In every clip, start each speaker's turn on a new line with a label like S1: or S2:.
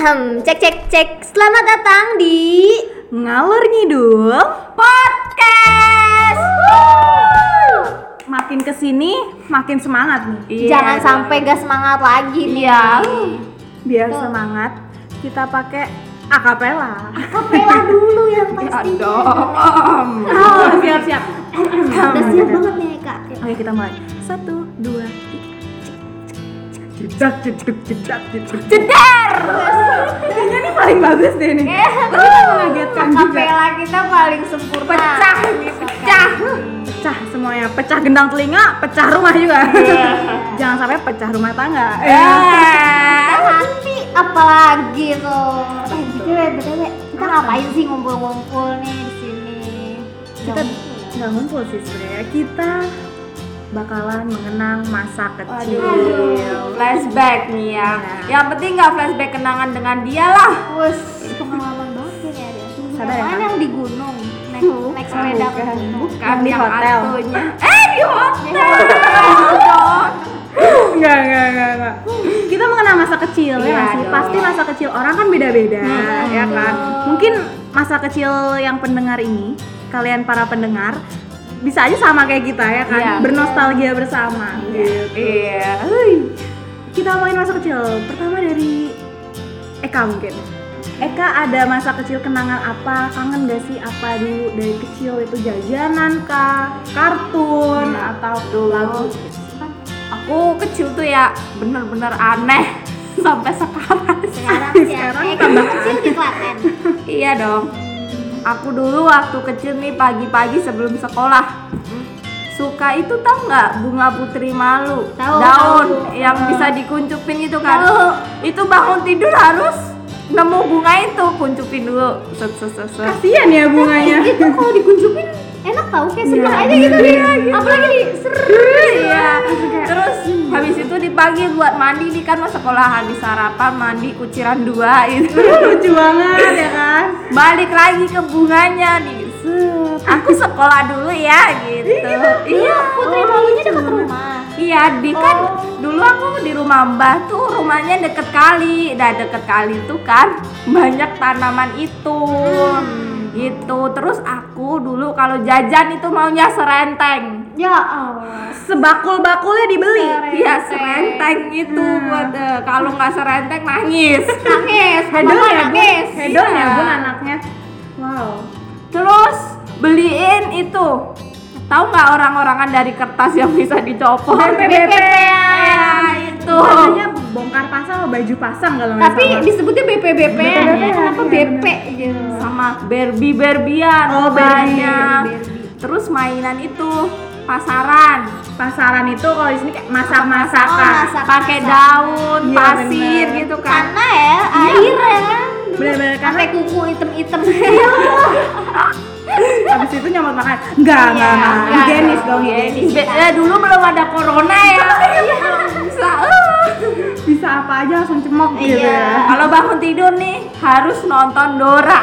S1: Ahem, cek cek cek. Selamat datang di
S2: Ngalor ngidul,
S1: podcast.
S2: makin kesini makin semangat nih.
S1: Jangan sampai gak semangat lagi nih.
S2: Iya. Biar semangat, kita pakai akapela.
S1: Kapela dulu yang
S2: Ya
S1: pasti.
S2: dong. Oh, siap siap.
S1: Udah siap banget nih kak.
S2: Oke kita mulai. Satu, dua, tiga. Cedak, cedak, cedak, cedak.
S1: Jedar.
S2: Kayaknya ini paling bagus deh
S1: Eh,
S2: nih. Tapi mengagetkan juga.
S1: Kapela kita paling sempurna.
S2: Pecah,
S1: pecah.
S2: Pecah semuanya, pecah gendang telinga, pecah rumah juga.
S1: Iya.
S2: Jangan sampai pecah rumah tangga.
S1: Eh.
S2: Eh.
S1: Pecah hati apalagi tuh. Eh btw btw kita ngapain sih ngumpul-ngumpul nih di sini?
S2: kita nggak ngumpul sih sebenarnya kita bakalan mengenang masa kecil
S3: Aduh, flashback nih ya.
S2: Iya.
S3: Yang penting nggak flashback kenangan dengan dia lah.
S1: Wes, pengalaman banget ya dia.
S2: Sadar ya,
S1: Yang lain
S2: Kak?
S1: yang di gunung, naik naik sepeda ke gunung. ya.
S3: Bukan
S2: Yang di
S3: yang
S2: hotel.
S3: atunya. Eh di hotel.
S2: nggak nggak nggak nggak kita mengenang masa kecil ya
S3: Iya
S2: nggak sih
S3: dong. Iya
S2: pasti masa kecil orang kan beda beda ya kan mungkin masa kecil yang pendengar ini kalian para pendengar bisa aja sama kayak kita ya kan
S3: Iya.
S2: bernostalgia bersama gitu.
S3: Iya.
S2: Hei, kita ngomongin masa kecil pertama dari Eka mungkin Eka ada masa kecil kenangan apa kangen gak sih apa dulu dari kecil itu jajanan kah kartun atau lagu
S3: Aku kecil tuh ya bener-bener aneh sampai sekarang.
S1: Sekarang sih
S2: Sekarang kan.
S1: eh,
S2: tambah
S1: kecil di Klaten.
S3: iya dong. Aku dulu waktu kecil nih pagi-pagi sebelum sekolah suka itu tau nggak bunga putri malu
S1: Tahu,
S3: daun
S1: tahu.
S3: yang
S1: Tahu.
S3: bisa dikuncupin itu kan
S1: Tahu.
S3: itu bangun tidur harus nemu bunga itu kuncupin dulu set set set, set.
S2: kasian ya bunganya
S1: Eh, itu kalau dikunjupin enak tau kayak seger
S2: Iya.
S1: aja gitu deh. Apalagi di seru.
S3: Iya. Terus habis itu di pagi buat mandi nih kan mau sekolah habis sarapan mandi kuciran dua itu
S2: lucu banget ya kan
S3: balik lagi ke bunganya nih. Set. Aku sekolah dulu ya gitu. Iya.
S2: Oh,
S1: Putri Malunya dekat rumah.
S3: Iya, di kan dulu aku di rumah Mbah tuh rumahnya deket kali. Nah, deket kali itu kan banyak tanaman itu. Gitu. Terus aku dulu kalau jajan itu maunya serenteng.
S1: Ya Allah.
S2: sebakul bakulnya dibeli
S3: Iya serenteng gitu
S2: Nah.
S3: buat eh, kalau nggak serenteng nangis.
S1: Nangis, mama
S2: hedon ya bu
S1: nangis.
S2: hedon ya
S3: Iya.
S2: bu anaknya wow
S3: Terus beliin itu tahu nggak orang-orangan dari kertas yang bisa dicopot?
S2: BPP.
S3: Ya,
S2: Iya,
S3: itu.
S2: Namanya bongkar pasang atau baju pasang kalau nggak
S1: Tapi
S2: salah.
S1: disebutnya BPBP.
S2: BPBP.
S1: Kenapa
S2: Iya,
S1: BP gitu?
S3: Sama Barbie Barbian
S2: Oh, Barbie,
S3: Terus mainan itu pasaran
S2: pasaran itu kalau di sini kayak
S1: Oh,
S2: masak-masakan
S1: masak. Pasaran.
S3: pakai daun
S2: Iya,
S3: pasir
S2: bener.
S3: gitu kan
S1: Karena ya air ya kan.
S2: Bener-bener, karena-
S1: sampai kuku item-item.
S2: habis itu nyomot makan enggak enggak enggak
S3: Iya,
S2: higienis dong higienis Iya,
S3: Be- ya, dulu belum ada corona ya. Bisa, eh.
S2: bisa apa aja langsung cemok gitu
S1: Iya.
S2: ya
S3: Kalau bangun tidur nih harus nonton Dora.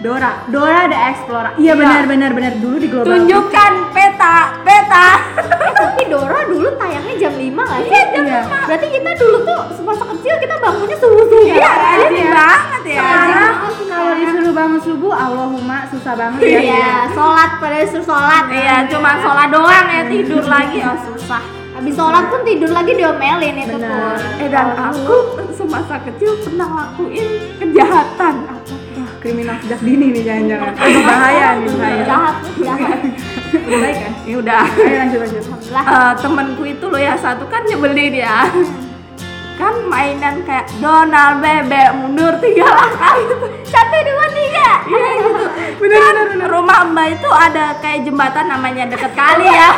S2: Dora Dora the Explorer iya benar benar benar dulu di global
S3: Tunjukkan peta, peta.
S1: Eh, tapi Dora dulu tayangnya jam 5 gak sih?
S3: Iya, jam
S2: Iya.
S1: 5. Berarti kita dulu tuh semasa kecil kita bangunnya subuh-subuh.
S3: Iya, rajin banget ya.
S2: sekarang kalau disuruh bangun subuh Allahumma susah banget ya
S1: Iya, sholat pada disuruh sholat.
S3: Iya, cuma sholat doang ya tidur lagi
S2: Iya. oh,
S3: ya susah.
S1: Habis sholat pun tidur lagi diomelin itu
S2: Benar.
S1: pun.
S3: Eh dan aku semasa kecil pernah lakuin kejahatan. Apa?
S2: Wah, kriminal sejak dini nih jangan-jangan Aduh, bahaya nih
S3: Iya.
S2: bahaya
S1: Jahat, jahat.
S2: udah baik kan
S3: Ya udah.
S2: ayo lanjut lanjut
S1: Alhamdulillah.
S3: Eh, temanku itu loh ya satu kan nyebelin ya kan mainan kayak Donald bebek mundur tiga langkah gitu satu dua tiga Iya, gitu.
S2: benar benar
S3: Kan rumah mbak itu ada kayak jembatan namanya deket kali ya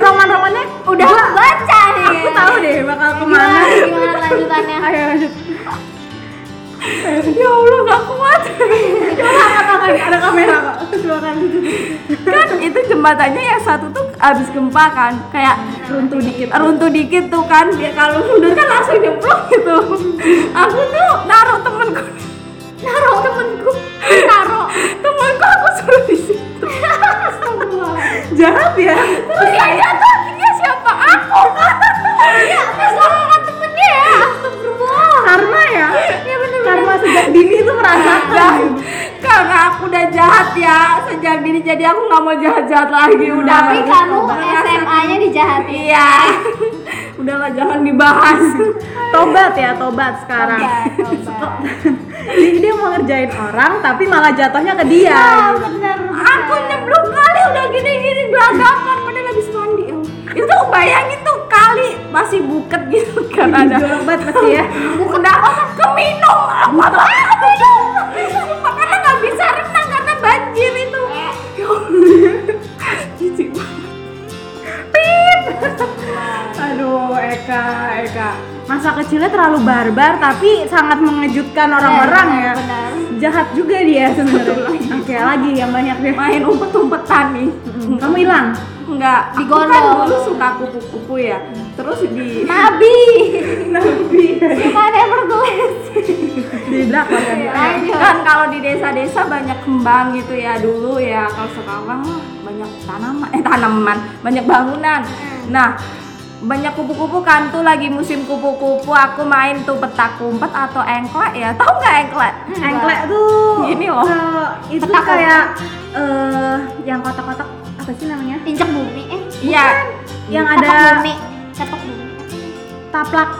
S2: roman romannya
S3: udah aku baca nih
S2: aku tahu deh bakal
S1: Gimana,
S2: kemana
S1: gimana lanjutannya?
S2: ayo lanjut
S3: ya allah gak kuat
S2: ada kamera kok silakan
S3: kan itu jembatannya yang satu tuh abis gempa kan kayak
S2: runtuh dikit
S3: runtuh dikit tuh kan dia kalau mundur kan langsung jeblok gitu aku tuh naruh temenku
S1: Naruh temenku, taruh.
S3: temanku aku suruh di situ
S2: jahat ya
S3: terus yang jatuh dia siapa aku
S1: Iya, terus lawan temennya ya. Astagfirullah.
S2: karma Iya,
S3: diri ya, jadi aku nggak mau jahat-jahat lagi udah
S1: Tapi kamu
S3: Ngerasa-
S1: SMA-nya dijahatin.
S3: iya udahlah jangan dibahas
S2: Tobat ya, tobat sekarang.
S1: Coba, Iya, coba.
S2: Jadi dia mau ngerjain orang tapi malah jatuhnya ke dia.
S1: Ah, bener.
S3: aku nyemplung kali udah gini-gini belagakan padahal habis mandi ya. itu bayangin tuh kali masih buket gitu kan ada
S2: Jorok banget pasti ya.
S3: udah keminum apa tuh ah, keminum Sumpah, karena nggak bisa renang karena banjir itu Ya Allah. jijik banget
S2: Aduh, Eka, Eka. Masa kecilnya terlalu barbar tapi sangat mengejutkan orang-orang ya.
S1: Benar.
S2: Jahat juga dia sebenarnya. Oke, lagi yang banyak deh.
S3: main umpet-umpetan nih
S2: Kamu hilang.
S3: enggak aku kan
S1: Digondol.
S3: dulu suka kupu-kupu ya terus di
S1: Nabi.
S2: Nabi.
S1: Suka Neverglades.
S2: Di belakang. kan?
S1: Lanjut.
S3: kan kalau di desa-desa banyak kembang gitu ya dulu ya kalau sekarang mah banyak tanaman eh tanaman banyak bangunan nah banyak kupu-kupu kan tuh lagi musim kupu-kupu aku main tuh petak umpet atau engklek ya tahu nggak engklek
S2: Engklek tuh
S3: Gini loh.
S2: eh, itu
S1: Petak
S2: kayak eh yang kotak-kotak apa sih namanya?
S1: Injak bumi. Eh,
S3: iya
S2: Yang
S1: tapak
S2: ada
S1: bumi. Tapak bumi.
S2: taplak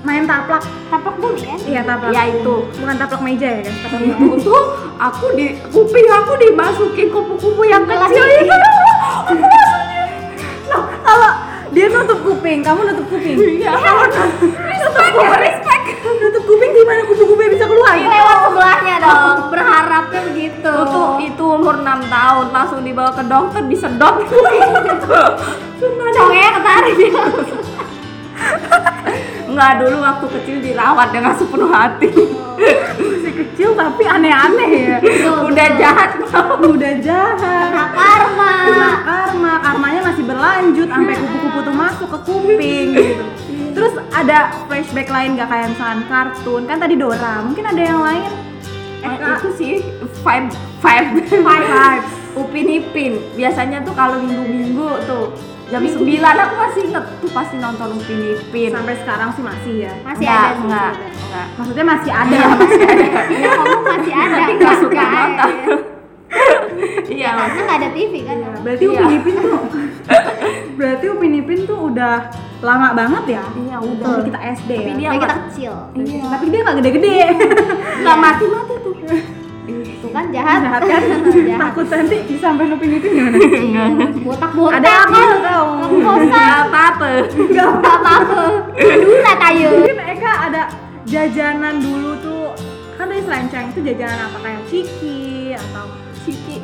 S2: main taplak.
S1: Tapak bumi ya.
S2: Iya, taplak.
S3: Iya, itu.
S2: Bukan taplak meja ya, kan? Taplak meja.
S3: aku tuh aku di kuping aku dimasukin kupu-kupu ya. yang kecil itu
S2: Loh, kalau dia nutup kuping, kamu nutup kuping.
S3: iya respect ya respect
S2: Nutup kuping gimana kupu-kupu bisa keluar?
S1: Lewat sebelahnya dong. Berharapnya begitu.
S3: itu itu umur 6 tahun langsung dibawa ke dokter disedot Sumpah dah.
S1: Cowoknya ketarik.
S3: nggak dulu waktu kecil dirawat dengan sepenuh hati
S2: Masih kecil tapi aneh-aneh ya.
S3: udah jahat
S2: Udah jahat.
S1: Nah, karma.
S2: Karma, karmanya masih berlanjut sampai kupu-kupu tuh masuk ke kuping gitu. Terus ada flashback lain gak kayak misalkan kartun kan tadi Dora, mungkin ada yang lain?
S3: Eh, itu sih vibe vibe
S2: Vibes.
S3: upin ipin biasanya tuh kalau minggu minggu tuh jam 9 aku masih inget tuh pasti nonton upin ipin
S2: Sampai sekarang sih masih ya.
S1: Masih
S3: Nggak,
S1: ada sih
S3: nggak
S1: sebenarnya.
S3: nggak
S2: Maksudnya masih ada.
S1: Ya, kamu masih ada.
S3: tapi nggak
S1: nggak
S3: suka
S1: ada
S3: nonton
S1: ya.
S3: iya
S1: Karena nggak ada TV kan.
S2: Berarti
S3: Iya.
S2: Upin Ipin tuh Berarti Upin Ipin tuh udah lama banget ya?
S3: iya
S2: Dari
S3: udah
S2: kita SD ya?
S3: Tapi dia-
S1: Kayak kita kecil.
S3: Iya.
S2: Tapi dia gak gede-gede
S3: nggak mati mati tuh
S1: Tuh kan jahat.
S2: Jahat kan?
S3: Ya.
S1: Jahat.
S2: Takut nanti disampein Upin Ipin gimana?
S1: Botak-botak.
S2: Ada gitu apa
S1: kan?
S2: lo tau?
S1: Kongkosan.
S3: nggak apa apa
S2: Gak
S1: Gak apa-apa. Dura tayo.
S2: Mungkin Eka ada jajanan dulu tuh Kan tadi selenceng itu jajanan apa? Kayak ciki atau
S3: ciki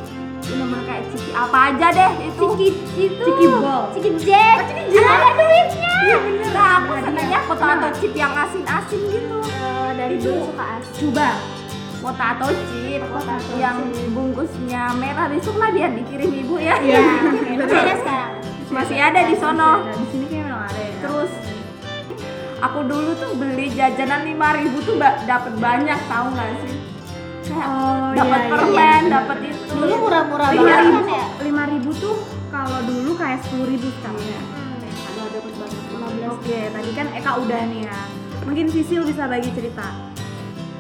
S3: bener-bener kayak ciki apa aja deh itu
S1: Ciki itu.
S2: Ciki ball.
S1: Ciki Jack. Ada duitnya.
S3: iya bener nah, aku senangnya potato
S2: Kenapa?
S3: chip yang asin-asin gitu
S1: Eh, dari
S2: Itu.
S1: dulu suka asin.
S2: Coba
S3: potato chip
S1: Potato
S3: yang
S1: chip.
S3: bungkusnya merah besok lah biar dikirim ibu ya
S1: Iya. Masih ada sekarang.
S3: masih ada di sono
S2: Di sini kayaknya memang ada ya
S3: terus aku dulu tuh beli jajanan 5000 tuh ba- dapat banyak tahu nggak sih
S2: Oh
S3: dapat permen dapat itu
S1: Dulu murah-murah
S3: Iya.
S1: banget kan ya.
S2: lima ribu tuh kalau dulu kayak sepuluh ribu sekarang ya.
S3: Hmm. ada dapat banyak banget.
S2: Oke, tadi kan Eka udah nih ya. Mungkin Sisil bisa bagi cerita.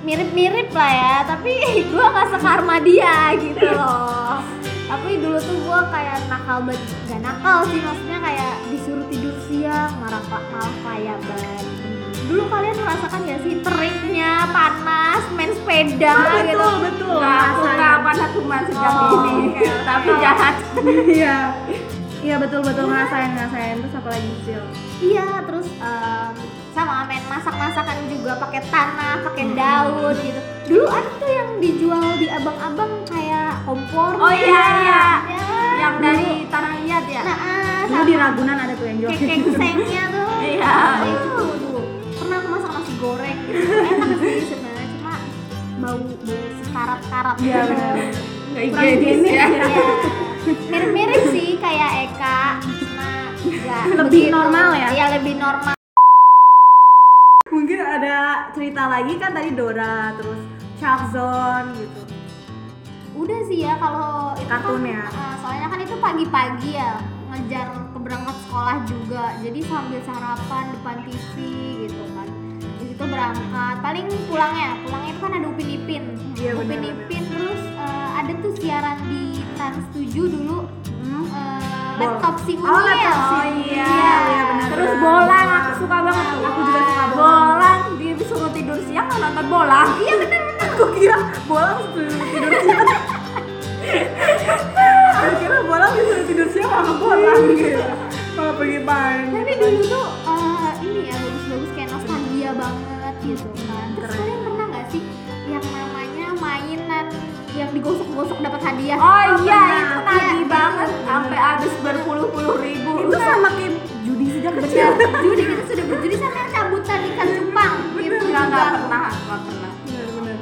S1: mirip-mirip lah ya tapi gue nggak sekarma dia gitu loh tapi dulu tuh gue kayak nakal banget gak nakal sih maksudnya kayak disuruh tidur siang marah malah payaban dulu kalian merasakan gak sih teriknya panas main sepeda
S3: Iya,
S1: gitu
S2: betul.
S3: Ya, Nggak, Nah, aku nggak
S2: ngerasain.
S3: panas cuma sejam
S1: Oh,
S3: ini
S1: oke, oke.
S3: tapi jahat
S2: Iya. Iya betul betul ngerasain ngerasain terus apa lagi
S3: Eh,
S2: Sisil?
S1: iya terus em, sama main masak-masakan juga pakai tanah pakai
S3: Hmm.
S1: daun gitu dulu ada tuh yang dijual di abang-abang kayak kompor
S3: Oh, iya, iya.
S1: Ya.
S3: yang dari tanah liat ya
S1: nah ah,
S2: Dulu di Ragunan ada tuh yang jual.
S1: kekeng sengnya tuh
S3: Iya.
S1: itu tuh dulu. pernah aku masak nasi goreng gitu enak sih sebenarnya cuma bau bau sekarat karat
S2: Iya benar.
S3: nggak
S2: Kurang
S3: higienis
S2: higienis
S3: ya
S1: mirip mirip sih kayak Eka cuma nggak
S2: Lebih normal ya?
S1: iya lebih normal
S2: Mungkin ada cerita lagi kan tadi Dora terus Shark Zone gitu.
S1: udah sih ya kalau itu
S2: Kartun
S1: kan,
S2: ya?
S1: eh, soalnya kan itu pagi-pagi ya ngejar keberangkat sekolah juga jadi sambil sarapan depan TV gitu kan di situ berharap berangkat paling pulangnya pulangnya itu kan ada upin ipin
S2: Iya,
S1: upin
S2: benar,
S1: ipin terus eh, ada tuh siaran di trans 7 dulu eh,
S2: Hmm. Bol.
S1: laptop si
S2: Oh,
S1: Unyil
S2: laptop si Unyil, iya, benar.
S3: Iya, Terus bolang, aku suka banget tuh.
S2: Aku juga suka
S3: bolang. Disuruh tidur siang nggak nonton bolang. Iya bener.
S2: aku kira bolang disuruh tidur siang aku kira bolang disuruh tidur siang sama bolang gitu malah pergi main
S1: tapi dulu tuh eh, ini ya bagus-bagus kayak nostalgia banget gitu kan terus
S2: Keren.
S1: kalian pernah nggak sih yang namanya mainan yang digosok-gosok dapat hadiah
S3: Oh iya,
S1: pernah.
S3: itu tadi
S1: Iya,
S3: banget
S1: itu.
S3: sampai habis berpuluh-puluh ribu. Nah. Iya,
S2: itu sama kayak judi sejak kecil
S1: judi kita sudah berjudi sampai yang cabutan ikan cupang itu
S3: Nggak,
S1: juga
S3: nggak pernah, nggak pernah.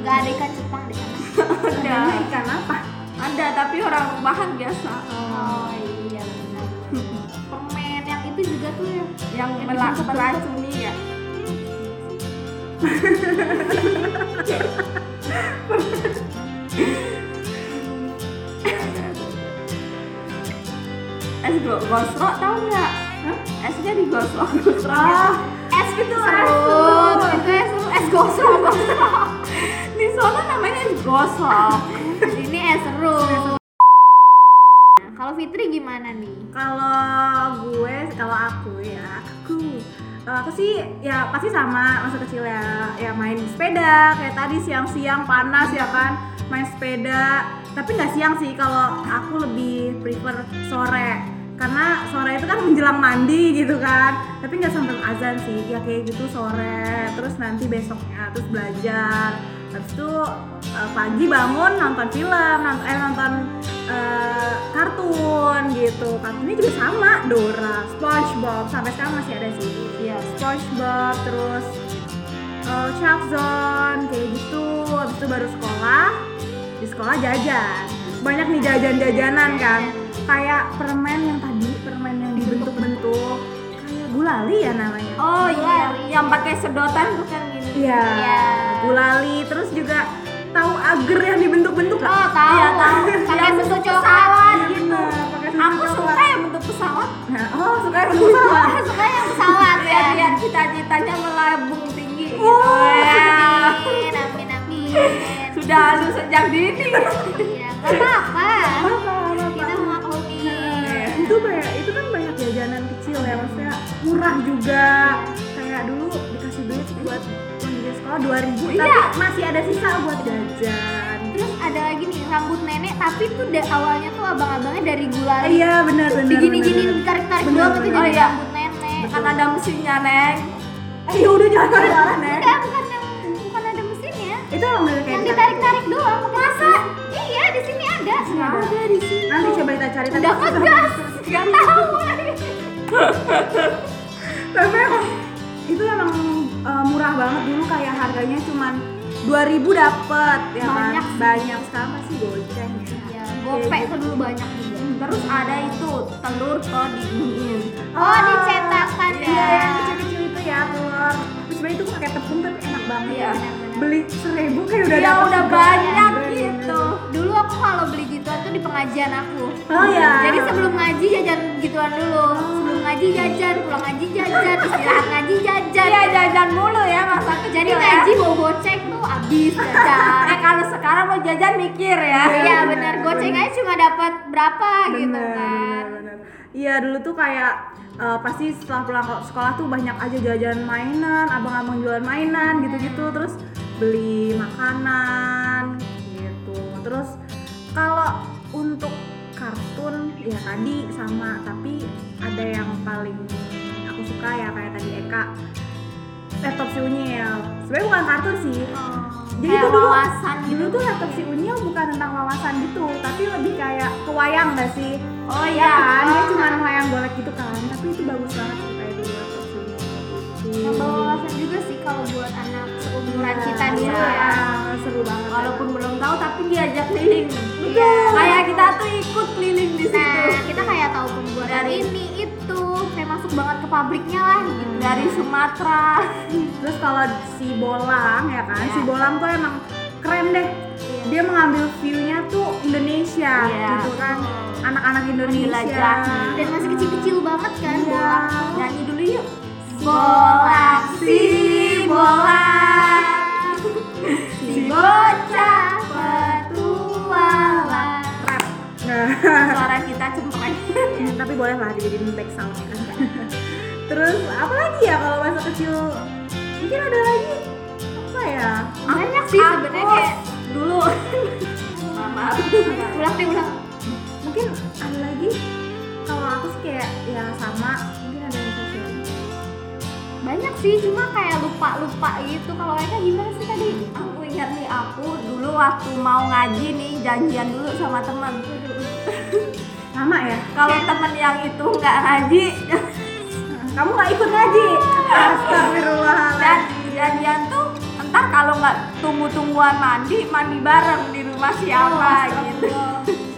S1: nggak ada ikan cupang di sana
S3: Ada,
S2: Ini ikan apa
S3: ada tapi orang rumahan biasa.
S1: oh iya benar permen yang itu juga tuh yang
S3: Yang mela- melacuni ya. Es go- gosok tau Oh, nggak? Esnya digosok.
S2: ah
S1: es itu
S3: serut.
S1: itu es serut es gosok
S3: Di sana namanya es gosok.
S1: ini es serut Nah, eh, kalau Fitri gimana nih
S2: kalau gue kalau aku ya aku kalau aku sih ya pasti sama masa kecil ya ya main sepeda kayak tadi siang-siang panas ya kan main sepeda tapi nggak siang sih kalau aku lebih prefer sore karena sore itu kan menjelang mandi gitu kan tapi nggak sampai azan sih ya kayak gitu sore terus nanti besoknya terus belajar habis itu eh, pagi bangun nonton film nonton eh, nonton eh, kartun gitu kartunnya juga sama Dora SpongeBob sampai sekarang masih ada sih
S1: Iya.
S2: SpongeBob terus eh, Shark Zone kayak gitu habis itu baru sekolah di sekolah jajan banyak nih jajan-jajanan kan kayak permen yang tadi permen yang dibentuk-bentuk kayak gulali ya namanya
S3: Oh iya, yang pakai sedotan bukan gini.
S2: Iya.
S1: Iya.
S2: Gulali terus juga tahu agar yang dibentuk-bentuk
S1: oh
S2: nggak?
S1: tahu
S3: Iya, tahu.
S1: pakai Iya,
S3: Yang
S1: bentuk
S3: bentuk
S1: pesawat
S2: gitu. Pakai susu
S3: Aku
S2: coklat.
S3: suka yang bentuk pesawat.
S2: Nah, oh, suka
S1: Iya.
S2: yang bentuk pesawat.
S1: suka yang pesawat ya
S3: Biar biar Iya. cita-citanya melambung tinggi. gitu. Wah.
S1: amin amin amin
S3: Sudah lu sejak dini.
S1: Iya, nggak apa-apa.
S2: Apa, apa, apa.
S1: Kita memaklumi. Iya, gitu.
S2: itu banyak itu kan banyak jajanan kecil ya maksudnya murah juga kayak dulu dikasih duit buat biaya sekolah 2000 tapi
S3: Iya.
S2: masih ada sisa buat jajan
S1: Terus ada lagi nih rambut nenek, tapi tuh da- awalnya tuh abang-abangnya dari gulali.
S2: iya benar benar
S1: Digini-giniin,
S2: benar.
S1: ditarik-tarik
S2: Bener,
S1: doang itu
S2: bener.
S1: jadi
S3: Oh, iya.
S1: rambut nenek.
S3: Kan ada mesinnya, Neng.
S2: eh ya udah jangan salah nek
S1: Enggak, bukan yang bukan ada mesinnya.
S2: itu emang bener kayak
S1: Iya. Yang
S2: gitu.
S1: ditarik-tarik doang. Masa? Iya, di sini ada.
S3: Ada
S1: di sini.
S2: nanti coba kita cari tadi
S1: Udah ngegas. Gak tahu lagi.
S2: tapi emang itu emang eh, murah banget dulu kayak harganya cuman 2000 dapet ya
S1: Banyak
S2: kan
S1: sih.
S2: banyak sekarang pasti goceng
S1: Ya,
S2: ya
S1: gopek tuh dulu banyak juga.
S3: Terus ada itu telur kok diginiin.
S1: Oh, dicetakan ya.
S2: iya yang kecil-kecil itu ya telur Tapi sebenarnya itu pakai tepung tapi enak banget
S3: Iya.
S1: Benar-benar.
S2: beli seribu kayak
S1: Iya,
S2: udah dapet
S3: Ya
S2: Iya,
S3: udah
S2: segelas.
S3: banyak
S2: Bener.
S3: gitu.
S1: Dulu aku kalau beli gituan tuh di pengajian aku.
S2: oh ya
S1: Jadi sebelum ngaji jajan gituan dulu. Sebelum ngaji jajan, pulang ngaji jajan, istirahat ngaji jajan.
S3: Iya jajan mulu ya masa kecil
S1: Jadi
S3: ya.
S1: ngaji bawa goceng tuh abis jajan.
S3: Eh kalau sekarang mau jajan mikir ya.
S1: Iya benar, goceng aja cuma dapat berapa gitu
S2: Bener,
S1: kan.
S2: bener, bener. Iya dulu tuh kayak eh, pasti setelah pulang ke sekolah tuh banyak aja jajan mainan, abang-abang jualan mainan gitu-gitu,
S1: Hmm.
S2: terus beli makanan gitu. Terus kalau untuk kartun ya tadi sama, tapi ada yang paling aku suka ya kayak tadi Eka laptop si Unyil. Sebenarnya bukan kartun sih, jadi
S1: Kayak
S2: itu dulu
S1: wawasan gitu.
S2: dulu tuh laptop si Unyil bukan tentang wawasan gitu, tapi lebih kayak kewayang gak sih?
S3: Oh
S2: Iya kan, dia
S3: iya.
S2: cuma wayang golek gitu kan, tapi itu bagus banget sih kayak dulu laptop si Unyil gitu.
S1: Nambah wawasan juga sih kalau buat anak seumuran kita dulu
S2: Iya,
S1: ya.
S2: seru banget.
S3: Walaupun belum tahu tapi diajak keliling.
S1: Iya.
S3: Kayak kita tuh ikut keliling di situ.
S1: Nah, kita kayak tahu pembuatan
S3: Dari-
S1: ini itu, kayak masuk banget ke pabriknya lah gitu.
S3: Dari Sumatera.
S2: Terus kalau si Bolang ya kan,
S1: Iya.
S2: si Bolang tuh emang keren deh. Dia mengambil view-nya tuh Indonesia
S3: Iya.
S2: gitu kan, anak-anak Indonesia.
S3: Menjelajahi.
S1: Dan masih kecil-kecil banget kan
S2: Iya.
S1: bola.
S3: Nyanyi dulu yuk.
S1: Bola,
S3: si bola
S2: Nah, boleh lah dijadiin background ya kan terus apa lagi ya kalau masa kecil mungkin ada lagi apa ya
S1: banyak sih sebenarnya kayak
S3: dulu maaf
S1: ulang deh ulang
S2: mungkin ada lagi kalau aku sih kayak ya sama mungkin ada yang sosial
S1: banyak sih cuma kayak lupa lupa gitu kalau Eka gimana sih tadi
S3: aku ingat nih aku dulu waktu mau ngaji nih janjian dulu sama teman
S2: lama ya
S3: kalau teman yang itu nggak ngaji
S2: kamu nggak ikut ngaji astagfirullahaladzim
S3: dan janjian tuh entar kalau nggak tunggu-tungguan mandi mandi bareng di rumah siapa gitu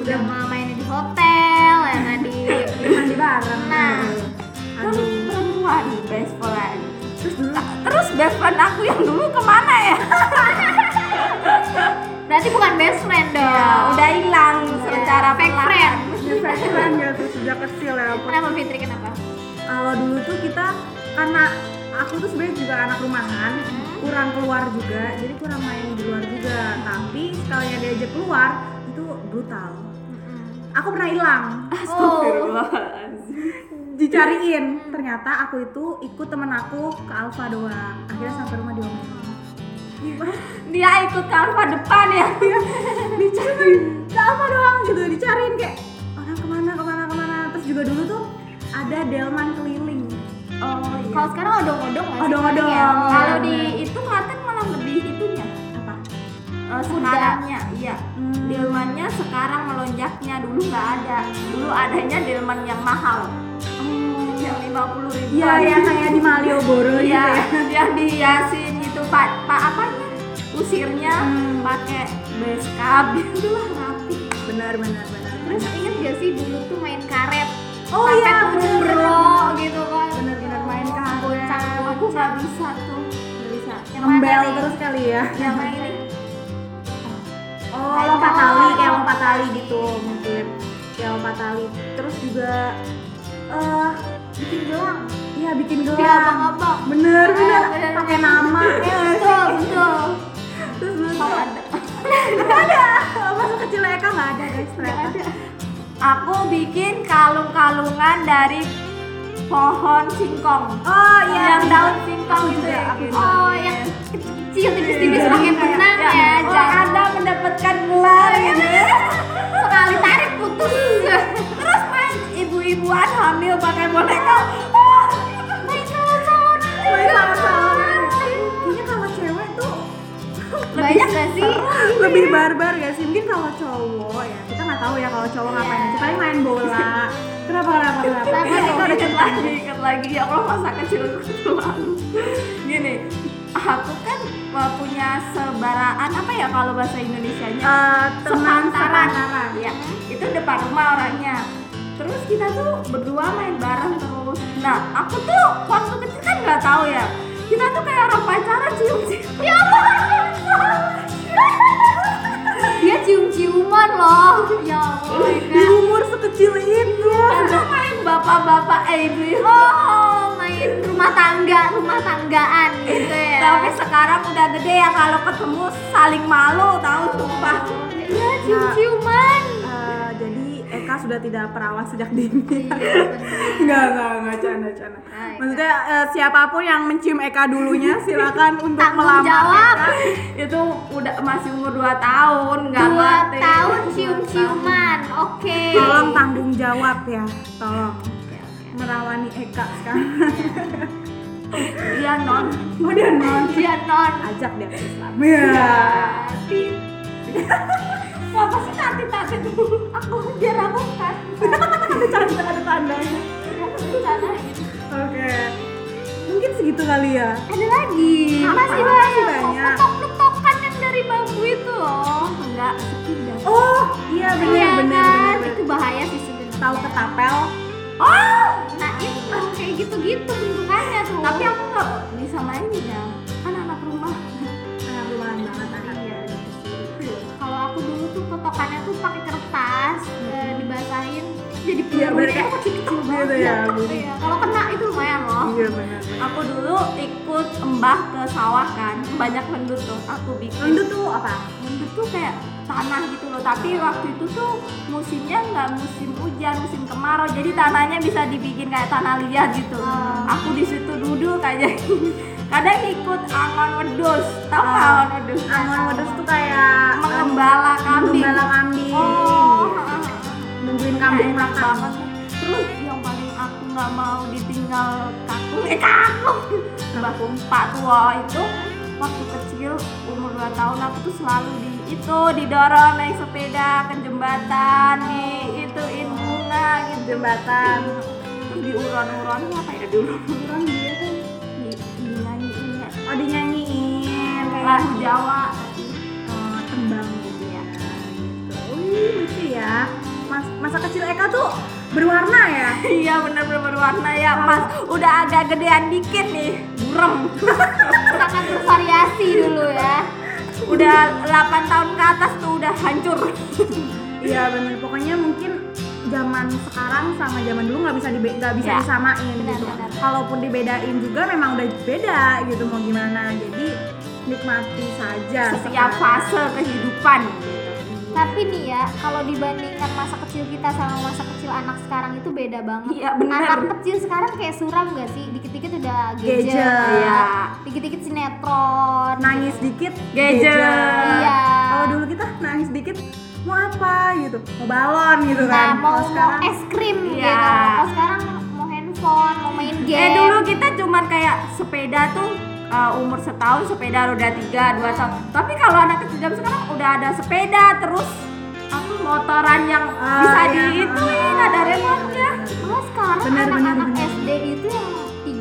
S1: udah mau mainnya di hotel ya nggak di
S2: mandi bareng
S1: Nah.
S2: aduh
S3: terus perempuan best friend
S2: terus dulu
S3: Nah, terus best friend aku yang dulu kemana ya
S1: berarti bukan best friend dong Iya.
S3: Ya, udah hilang secara
S1: fake
S3: perlahan.
S1: friend
S2: Depression ya terus sejak kecil ya ampun.
S1: kenapa Fitri kenapa
S2: kalau dulu tuh kita karena aku tuh sebenarnya juga anak rumahan
S3: Hmm.
S2: kurang keluar juga jadi kurang main di luar juga tapi sekalinya diajak keluar itu brutal aku pernah hilang
S1: oh
S2: dicariin ternyata aku itu ikut temen aku ke Alfa doang akhirnya sampai rumah diomelin
S3: dia ikut ke alfa depan ya
S2: dicari Iya, ke Alfa doang gitu dicariin kayak orang kemana kemana kemana terus juga dulu tuh ada delman keliling
S3: oh
S1: kalau sekarang odong-odong nggak sih?
S2: Odong-odong.
S1: Ya,
S3: kalau
S1: kalau
S3: di itu Klaten malah lebih itunya
S2: apa
S3: Eh, sekarangnya iya
S2: Hmm.
S3: delmannya sekarang melonjaknya dulu nggak ada dulu adanya delman yang mahal yang lima puluh ribu
S2: Iya, yang kayak di Malioboro gitu
S3: Iya,
S2: ya.
S3: yang dihiasin itu pak pak apa usirnya
S2: Hmm.
S3: pakai beskap gitu lah rapi
S2: Benar, benar, benar.
S1: Terus inget gak sih dulu tuh main karet?
S2: Oh
S1: Sampai
S2: iya,
S1: kumpul
S2: bener.
S1: bro gitu kan.
S2: Bener-bener main karet.
S1: Bocah
S3: aku nggak bisa tuh nggak bisa
S1: Yang mana
S2: Ngembel
S1: nih?
S2: terus kali ya.
S3: yang ini
S2: Oh,
S1: Kayak
S2: lompat
S1: gitu.
S2: tali, kayak lompat tali gitu mungkin. Kayak lompat tali. Terus juga eh
S1: bikin gelang.
S2: iya bikin
S1: Di
S2: gelang.
S1: abang-abang.
S2: Bener,
S1: Eh,
S2: bener.
S1: bener.
S2: Pakai nama. ya nggak sih?
S1: Betul, betul.
S2: Terus Ah, dulu tuh
S3: ada
S2: nggak ada. Masa kecil Eka nggak ada guys ternyata.
S3: aku bikin kalung-kalungan dari pohon singkong
S2: Oh iya.
S3: yang daun singkong
S2: Aku
S3: itu
S2: juga,
S3: ya
S2: aku
S3: gitu.
S1: Oh, yang kecil tipis-tipis
S2: Iya.
S1: pakai benang ya.
S3: Ya, oh,
S1: Jangan
S3: Anda mendapatkan gelar
S2: iya,
S3: gitu.
S1: sekali tarik putus.
S3: Terus main ibu-ibuan hamil pakai boneka. Ah,
S1: Main Iya. salon-salonan
S2: Main
S1: juga.
S2: salon-salonan. Kayaknya kalau cewek tuh
S1: Banyak gak sih?
S3: Iya.
S2: lebih barbar gak sih mungkin kalau cowok ya kita nggak tahu ya kalau cowok ngapain aja paling main bola kenapa kenapa kenapa
S1: Kenapa?
S2: Iya, kita udah
S3: inget
S2: cerita
S3: lagi, inget lagi. Ya Allah masa kecilku terlalu. Gini, aku kan uh, punya sebaraan apa ya kalau bahasa Indonesianya?
S2: Eh, teman
S3: sepantaran
S2: Iya.
S3: ya itu depan rumah orangnya terus kita tuh berdua main bareng terus nah aku tuh waktu kecil kan nggak tahu ya kita tuh kayak orang pacaran cium cium ya
S1: Dia cium-ciuman loh. Ya Allah,
S2: di
S1: Eka.
S2: umur sekecil itu
S3: itu main bapak-bapak eh ibu
S1: Oh, main rumah tangga, rumah tanggaan gitu ya.
S2: Nah,
S3: tapi sekarang udah gede ya kalau ketemu saling malu tahu sumpah
S1: Iya, cium-ciuman.
S2: Eh, jadi Eka sudah tidak perawan sejak dini
S1: Iya,
S2: nggak nggak nggak canda canda
S1: Nah,
S3: iya.
S1: Eka.
S2: maksudnya eh, siapapun yang mencium Eka dulunya silakan untuk
S1: Tanggung
S2: melamar
S1: jawab.
S2: Eka.
S3: itu udah masih umur 2 tahun nggak
S1: Dua
S3: mati
S1: tahun cium-ciuman, oke.
S2: tolong tanggung jawab ya tolong merawani Eka sekarang
S3: iya non
S2: mau dia non
S1: Dia non.
S2: ajak dia ke Islam ya
S1: Tapi
S3: apa sih nanti nanti aku biar aku kan
S2: ada canda ada tandanya oke mungkin segitu kali ya
S1: ada lagi. Masih
S2: Masih
S1: banyak.
S2: banyak.
S1: Ketok-ketokan yang dari bambu itu loh.
S3: enggak sekilas
S2: oh iya
S1: Iya
S2: benar benar
S1: kan?
S2: benar.
S1: Itu bahaya sih sebenarnya.
S2: tahu ketapel
S3: Oh,
S1: Nah, itu kayak gitu-gitu bentukannya tuh.
S3: tapi aku nggak bisa main ya. Kan anak rumah.
S2: Anak rumahan Ah, banget Iya. anaknya
S1: kalau aku dulu tuh kotokannya tuh pakai kertas eh, dibasahin jadi
S2: Iya,
S1: biar
S2: bener.
S1: kulitnya kecil kecil
S2: Gitu
S1: banget
S2: ya,
S3: Oh.
S1: Iya, kalau kena itu lumayan loh
S2: Iya benar.
S3: Aku dulu ikut Mbah ke sawah kan, banyak lendut tuh. Aku bikin
S2: Lendu tuh apa?
S3: lendut tuh kayak tanah gitu loh. Tapi waktu itu tuh musimnya nggak musim hujan, musim kemarau. Jadi tanahnya bisa dibikin kayak tanah liat gitu. Aku di situ duduk aja. Kadang ikut angon wedus, tau nggak
S2: Oh.
S3: angon wedus?
S2: Angon wedus tuh kayak
S3: Mengembala kambing.
S2: Gembala kambing.
S3: Oh, ha, ha, ha.
S2: Nungguin kambing
S3: Enak
S2: makan.
S3: banget. Terus yang paling aku nggak mau ditinggal kakung, eh kakung, bahkan pak tua itu waktu kecil umur 2 tahun aku tuh selalu di itu didorong naik sepeda ke jembatan di ituin bunga gitu
S2: Jembatan.
S3: terus diuron-uron apa ya diuron-uron dia kan di, dinyanyiin ya
S2: Oh dinyanyiin kayak gitu.
S3: lagu Jawa
S2: eh, iya. tembang gitu ya. Gitu. Wih, lucu ya. Mas, masa kecil Eka tuh berwarna ya.
S3: iya bener-bener berwarna ya mas udah agak gedean dikit nih burem
S1: sangat bervariasi dulu ya
S3: udah 8 tahun ke atas tuh udah hancur
S2: Iya benar. Pokoknya mungkin zaman sekarang sama zaman dulu nggak bisa dibe- nggak bisa
S3: Ya,
S2: disamain
S1: benar,
S2: gitu.
S1: benar.
S2: Kalaupun dibedain juga memang udah beda gitu mau gimana. Jadi nikmati saja
S3: setiap
S2: sekarang.
S3: fase kehidupan
S1: tapi nih ya kalau dibandingkan masa kecil kita sama masa kecil anak sekarang itu beda banget
S3: Iya, benar.
S1: anak kecil sekarang kayak suram gak sih dikit-dikit udah gadget,
S2: Gadget.
S3: Iya.
S1: dikit-dikit sinetron
S2: nangis dikit
S3: Gadget.
S1: Iya.
S2: Kalau dulu kita nangis dikit mau apa gitu, mau balon gitu
S1: nah,
S2: kan.
S1: mau,
S2: Kalau sekarang
S1: mau es krim
S3: Iya.
S1: gitu kalau sekarang mau handphone mau main game
S3: eh dulu kita cuman kayak sepeda tuh uh, umur setahun sepeda roda tiga dua tahun tapi kalau anak kecil zaman sekarang udah ada sepeda terus apa, motoran yang
S2: Ah,
S3: bisa
S2: iya.
S3: diituin ada remote-nya
S1: Malah sekarang
S2: Benar, benar,
S1: anak-anak
S2: benar.
S1: SD itu yang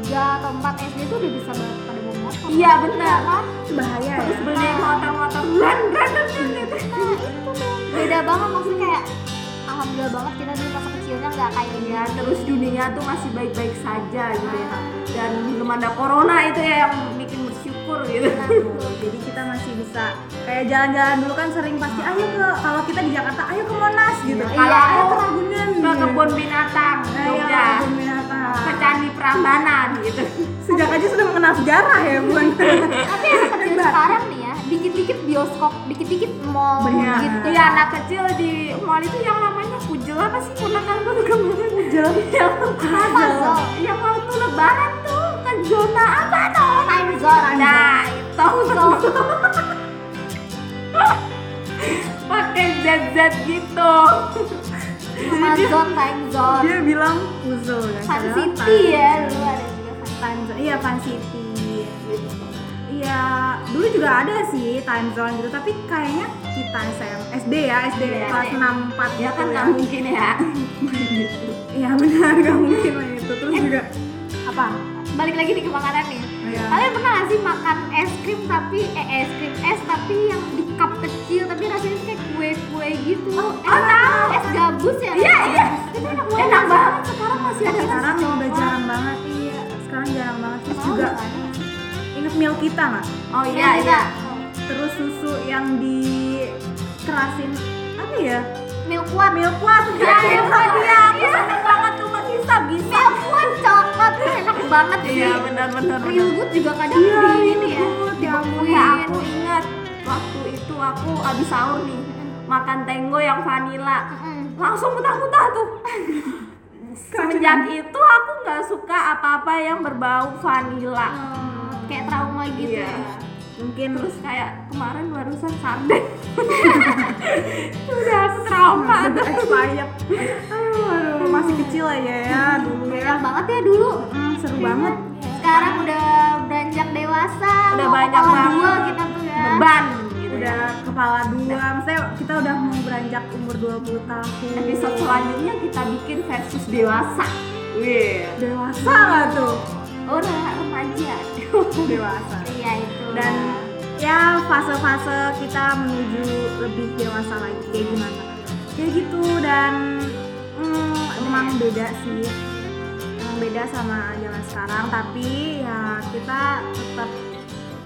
S1: 3 atau 4 SD itu udah bisa banget pada bawa motor
S3: iya bener
S1: kan?
S2: itu bahaya ya.
S3: terus beli motor-motor run run run, run, gitu.
S1: Nah itu dong Beda banget maksudnya kayak Alhamdulillah banget kita dulu masa kecilnya nggak kayak gini
S3: ya terus dunia tuh masih baik-baik saja gitu ya dan belum ada corona itu ya yang bikin bersyukur gitu
S2: Tuh, jadi kita masih bisa kayak jalan-jalan dulu kan sering pasti ayo ke kalau kita di Jakarta ayo ke Monas gitu.
S3: Iya.
S2: Kalau ayo
S3: Iya.
S2: ke Ragunan. gitu.
S3: ke kebun binatang
S2: Ayo ke
S3: Jogja
S2: kebun binatang.
S3: ke candi Prambanan gitu
S2: Sejak aja sudah mengenal sejarah ya, Bun.
S3: Iya,
S1: Tapi anak kecil sekarang nih ya Dikit-dikit bioskop, dikit-dikit mall
S2: Benar.
S1: gitu
S3: iya anak kecil di mall itu yang namanya kujel apa sih ponakan gue tuh kemarin
S2: Kujel.
S3: yang puzzle yang Iya, waktu lebaran tuh ke zona apa tuh
S1: Time zone
S3: nah itu pakai zat-zat gitu
S1: Sama zone, time zone
S2: Dia bilang puzzle
S1: Fun
S2: kan. Padahal
S1: City ya dulu ada juga Fun City.
S2: time zone iya fan city gitu iya dulu juga ada sih time zone gitu tapi kayaknya kita SM SD ya SD
S3: Iya,
S2: kelas
S3: iya.
S2: 6 4
S3: ya kan
S2: gitu
S3: nggak mungkin ya
S2: iya benar nggak mungkin lah itu terus
S3: Eh,
S2: juga apa
S1: Balik lagi nih ke makanan nih
S2: Iya.
S1: Kalian pernah gak sih makan es krim tapi eh es krim es tapi yang di cup kecil tapi rasanya kayak kue-kue gitu. Oh,
S3: tahu.
S1: Es gabus ya?
S3: Iya, iya.
S1: Itu enak banget.
S3: enak banget
S1: Sekarang masih ada
S2: sekarang
S1: rasa
S2: udah
S1: coklat.
S2: jarang banget iya sekarang jarang banget terus
S1: Tahu
S2: juga
S1: nggak ada?
S2: inget meal kita nggak
S3: oh
S1: Iya,
S3: iya
S1: iya.
S3: iya
S2: terus susu yang di kerasin apa ya
S1: Milk one.
S2: milk kuat kan? iya.
S3: Ya, ya,
S1: iya.
S3: ya, aku seneng banget tuh bisa bisa.
S1: Milk one coklat tuh enak banget sih.
S3: Iya, benar-benar.
S1: Real good juga kadang
S2: Iya,
S1: di ini ya.
S2: Real Good, ya ampun.
S1: dibekuin.
S3: Ya, aku ingat waktu itu aku abis sahur nih makan tenggo yang vanilla,
S1: Mm-mm.
S3: langsung muntah-muntah tuh. Semenjak itu aku nggak suka apa-apa yang berbau vanilla.
S1: Hmm, Kayak trauma gitu.
S3: Iya.
S1: ya.
S2: mungkin
S3: Terus kayak kemarin barusan sarden. Udah aku trauma.
S2: udah expired aduh, aduh masih kecil aja ya dulu ya
S1: Enak banget ya dulu.
S2: Hmm, seru banget
S1: Sekarang udah beranjak dewasa.
S3: Udah
S1: mau
S3: banyak
S1: kepala
S3: banget.
S1: dua kita tuh ya.
S3: Beban gitu ya.
S2: udah kepala dua maksudnya kita udah mau beranjak umur 20 tahun
S3: Episode selanjutnya kita bikin versus dewasa. Wih.
S2: dewasa lah tuh
S1: Oh, anak remaja.
S2: dewasa
S1: Iya itu.
S2: dan ya fase-fase kita menuju lebih dewasa lagi kayak gimana ya gitu dan hmm, emang beda sih emang beda sama zaman sekarang tapi ya kita tetap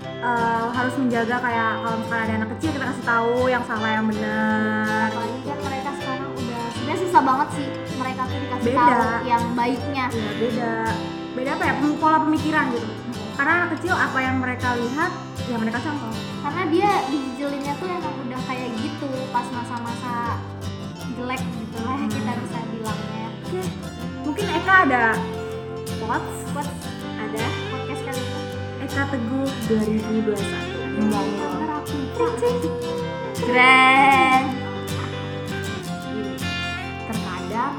S2: eh, harus menjaga kayak kalau misalnya ada anak kecil kita kasih tahu yang salah yang benar
S1: apalagi kan mereka sekarang udah sebenarnya susah banget sih mereka tuh dikasih
S2: Beda.
S1: tahu yang baiknya.
S2: ya beda beda apa ya pem- pola pemikiran gitu karena anak kecil apa yang mereka lihat ya mereka contoh
S1: karena dia dijijilinnya tuh emang udah kayak gitu pas masa-masa jelek gitu lah
S3: Hmm.
S1: kita bisa bilangnya
S2: oke mungkin Eka ada quotes
S1: buat
S2: ada
S1: podcast kali ini
S2: Eka Teguh 2021 monggo
S1: terapi
S3: Keren. Terkadang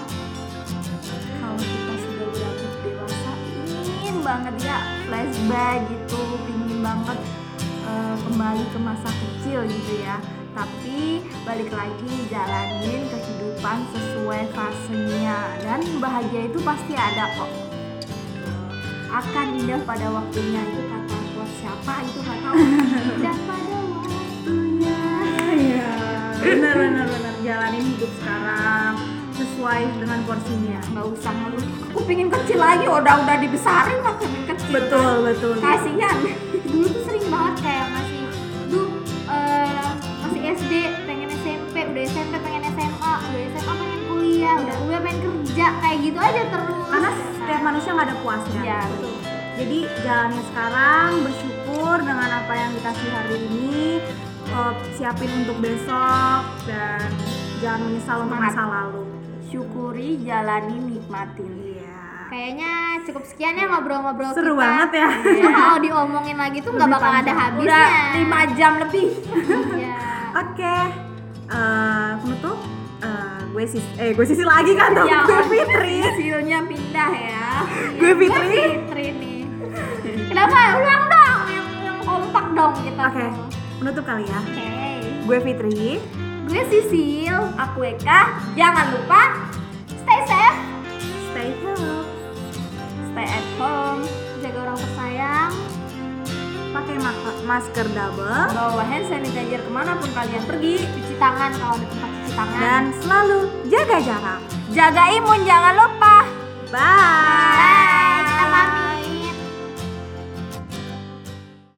S3: kalau kita sudah berambut dewasa ingin banget ya flashback gitu, ingin banget eh, kembali ke masa kecil gitu ya. Tapi balik lagi jalanin kehidupan sesuai fasenya dan bahagia itu pasti ada kok. Akan indah pada waktunya itu kata quotes siapa itu nggak tahu.
S1: dan pada
S2: Iya, benar benar benar jalanin hidup sekarang sesuai dengan porsinya.
S3: nggak usah ngeluh aku pingin kecil lagi udah udah dibesarin lah pingin kecil
S2: Betul betul.
S3: kasihan
S1: dulu tuh sering banget kayak masih duh eh, masih SD pengen SMP udah SMP pengen SMA udah SMA pengen kuliah udah kuliah pengen kerja kayak gitu aja terus Nah,
S2: Karena setiap manusia nggak ada puasnya.
S3: ya betul
S2: Jadi jalannya sekarang bersyukur dengan apa yang dikasih hari ini, eh, siapin untuk besok dan jangan menyesal untuk
S3: Semangat.
S2: masa lalu.
S3: syukuri jalani nikmatin
S2: Iya.
S1: kayaknya cukup sekian ya ngobrol-ngobrol
S2: Seru
S1: kita.
S2: banget ya.
S1: Cuma kalau diomongin lagi tuh nggak
S2: Lebih
S1: bakal ada
S2: panjang.
S1: habisnya
S3: udah lima jam lebih
S1: Iya.
S2: Oke, eh, penutup. Eh, gue sis, eh gue sisi lagi kan?
S3: Ya,
S1: Iya,
S2: gue Fitri.
S3: hasilnya pindah ya
S2: Gue Fitri.
S1: Fitri nih kenapa ulang dong yang, yang kompak dong kita
S2: Oke,
S1: tuh.
S2: menutup kali ya.
S1: oke
S2: Gue Fitri.
S1: gue Sisil
S3: aku Eka jangan lupa
S1: stay safe
S2: Stay healthy.
S3: stay at home
S1: jaga orang tersayang
S2: Pakai ma- masker double
S3: bawa hand sanitizer kemanapun kalian pergi
S1: cuci tangan kalau ada tempat cuci tangan
S2: dan selalu jaga jarak.
S3: jaga imun jangan lupa
S2: Bye.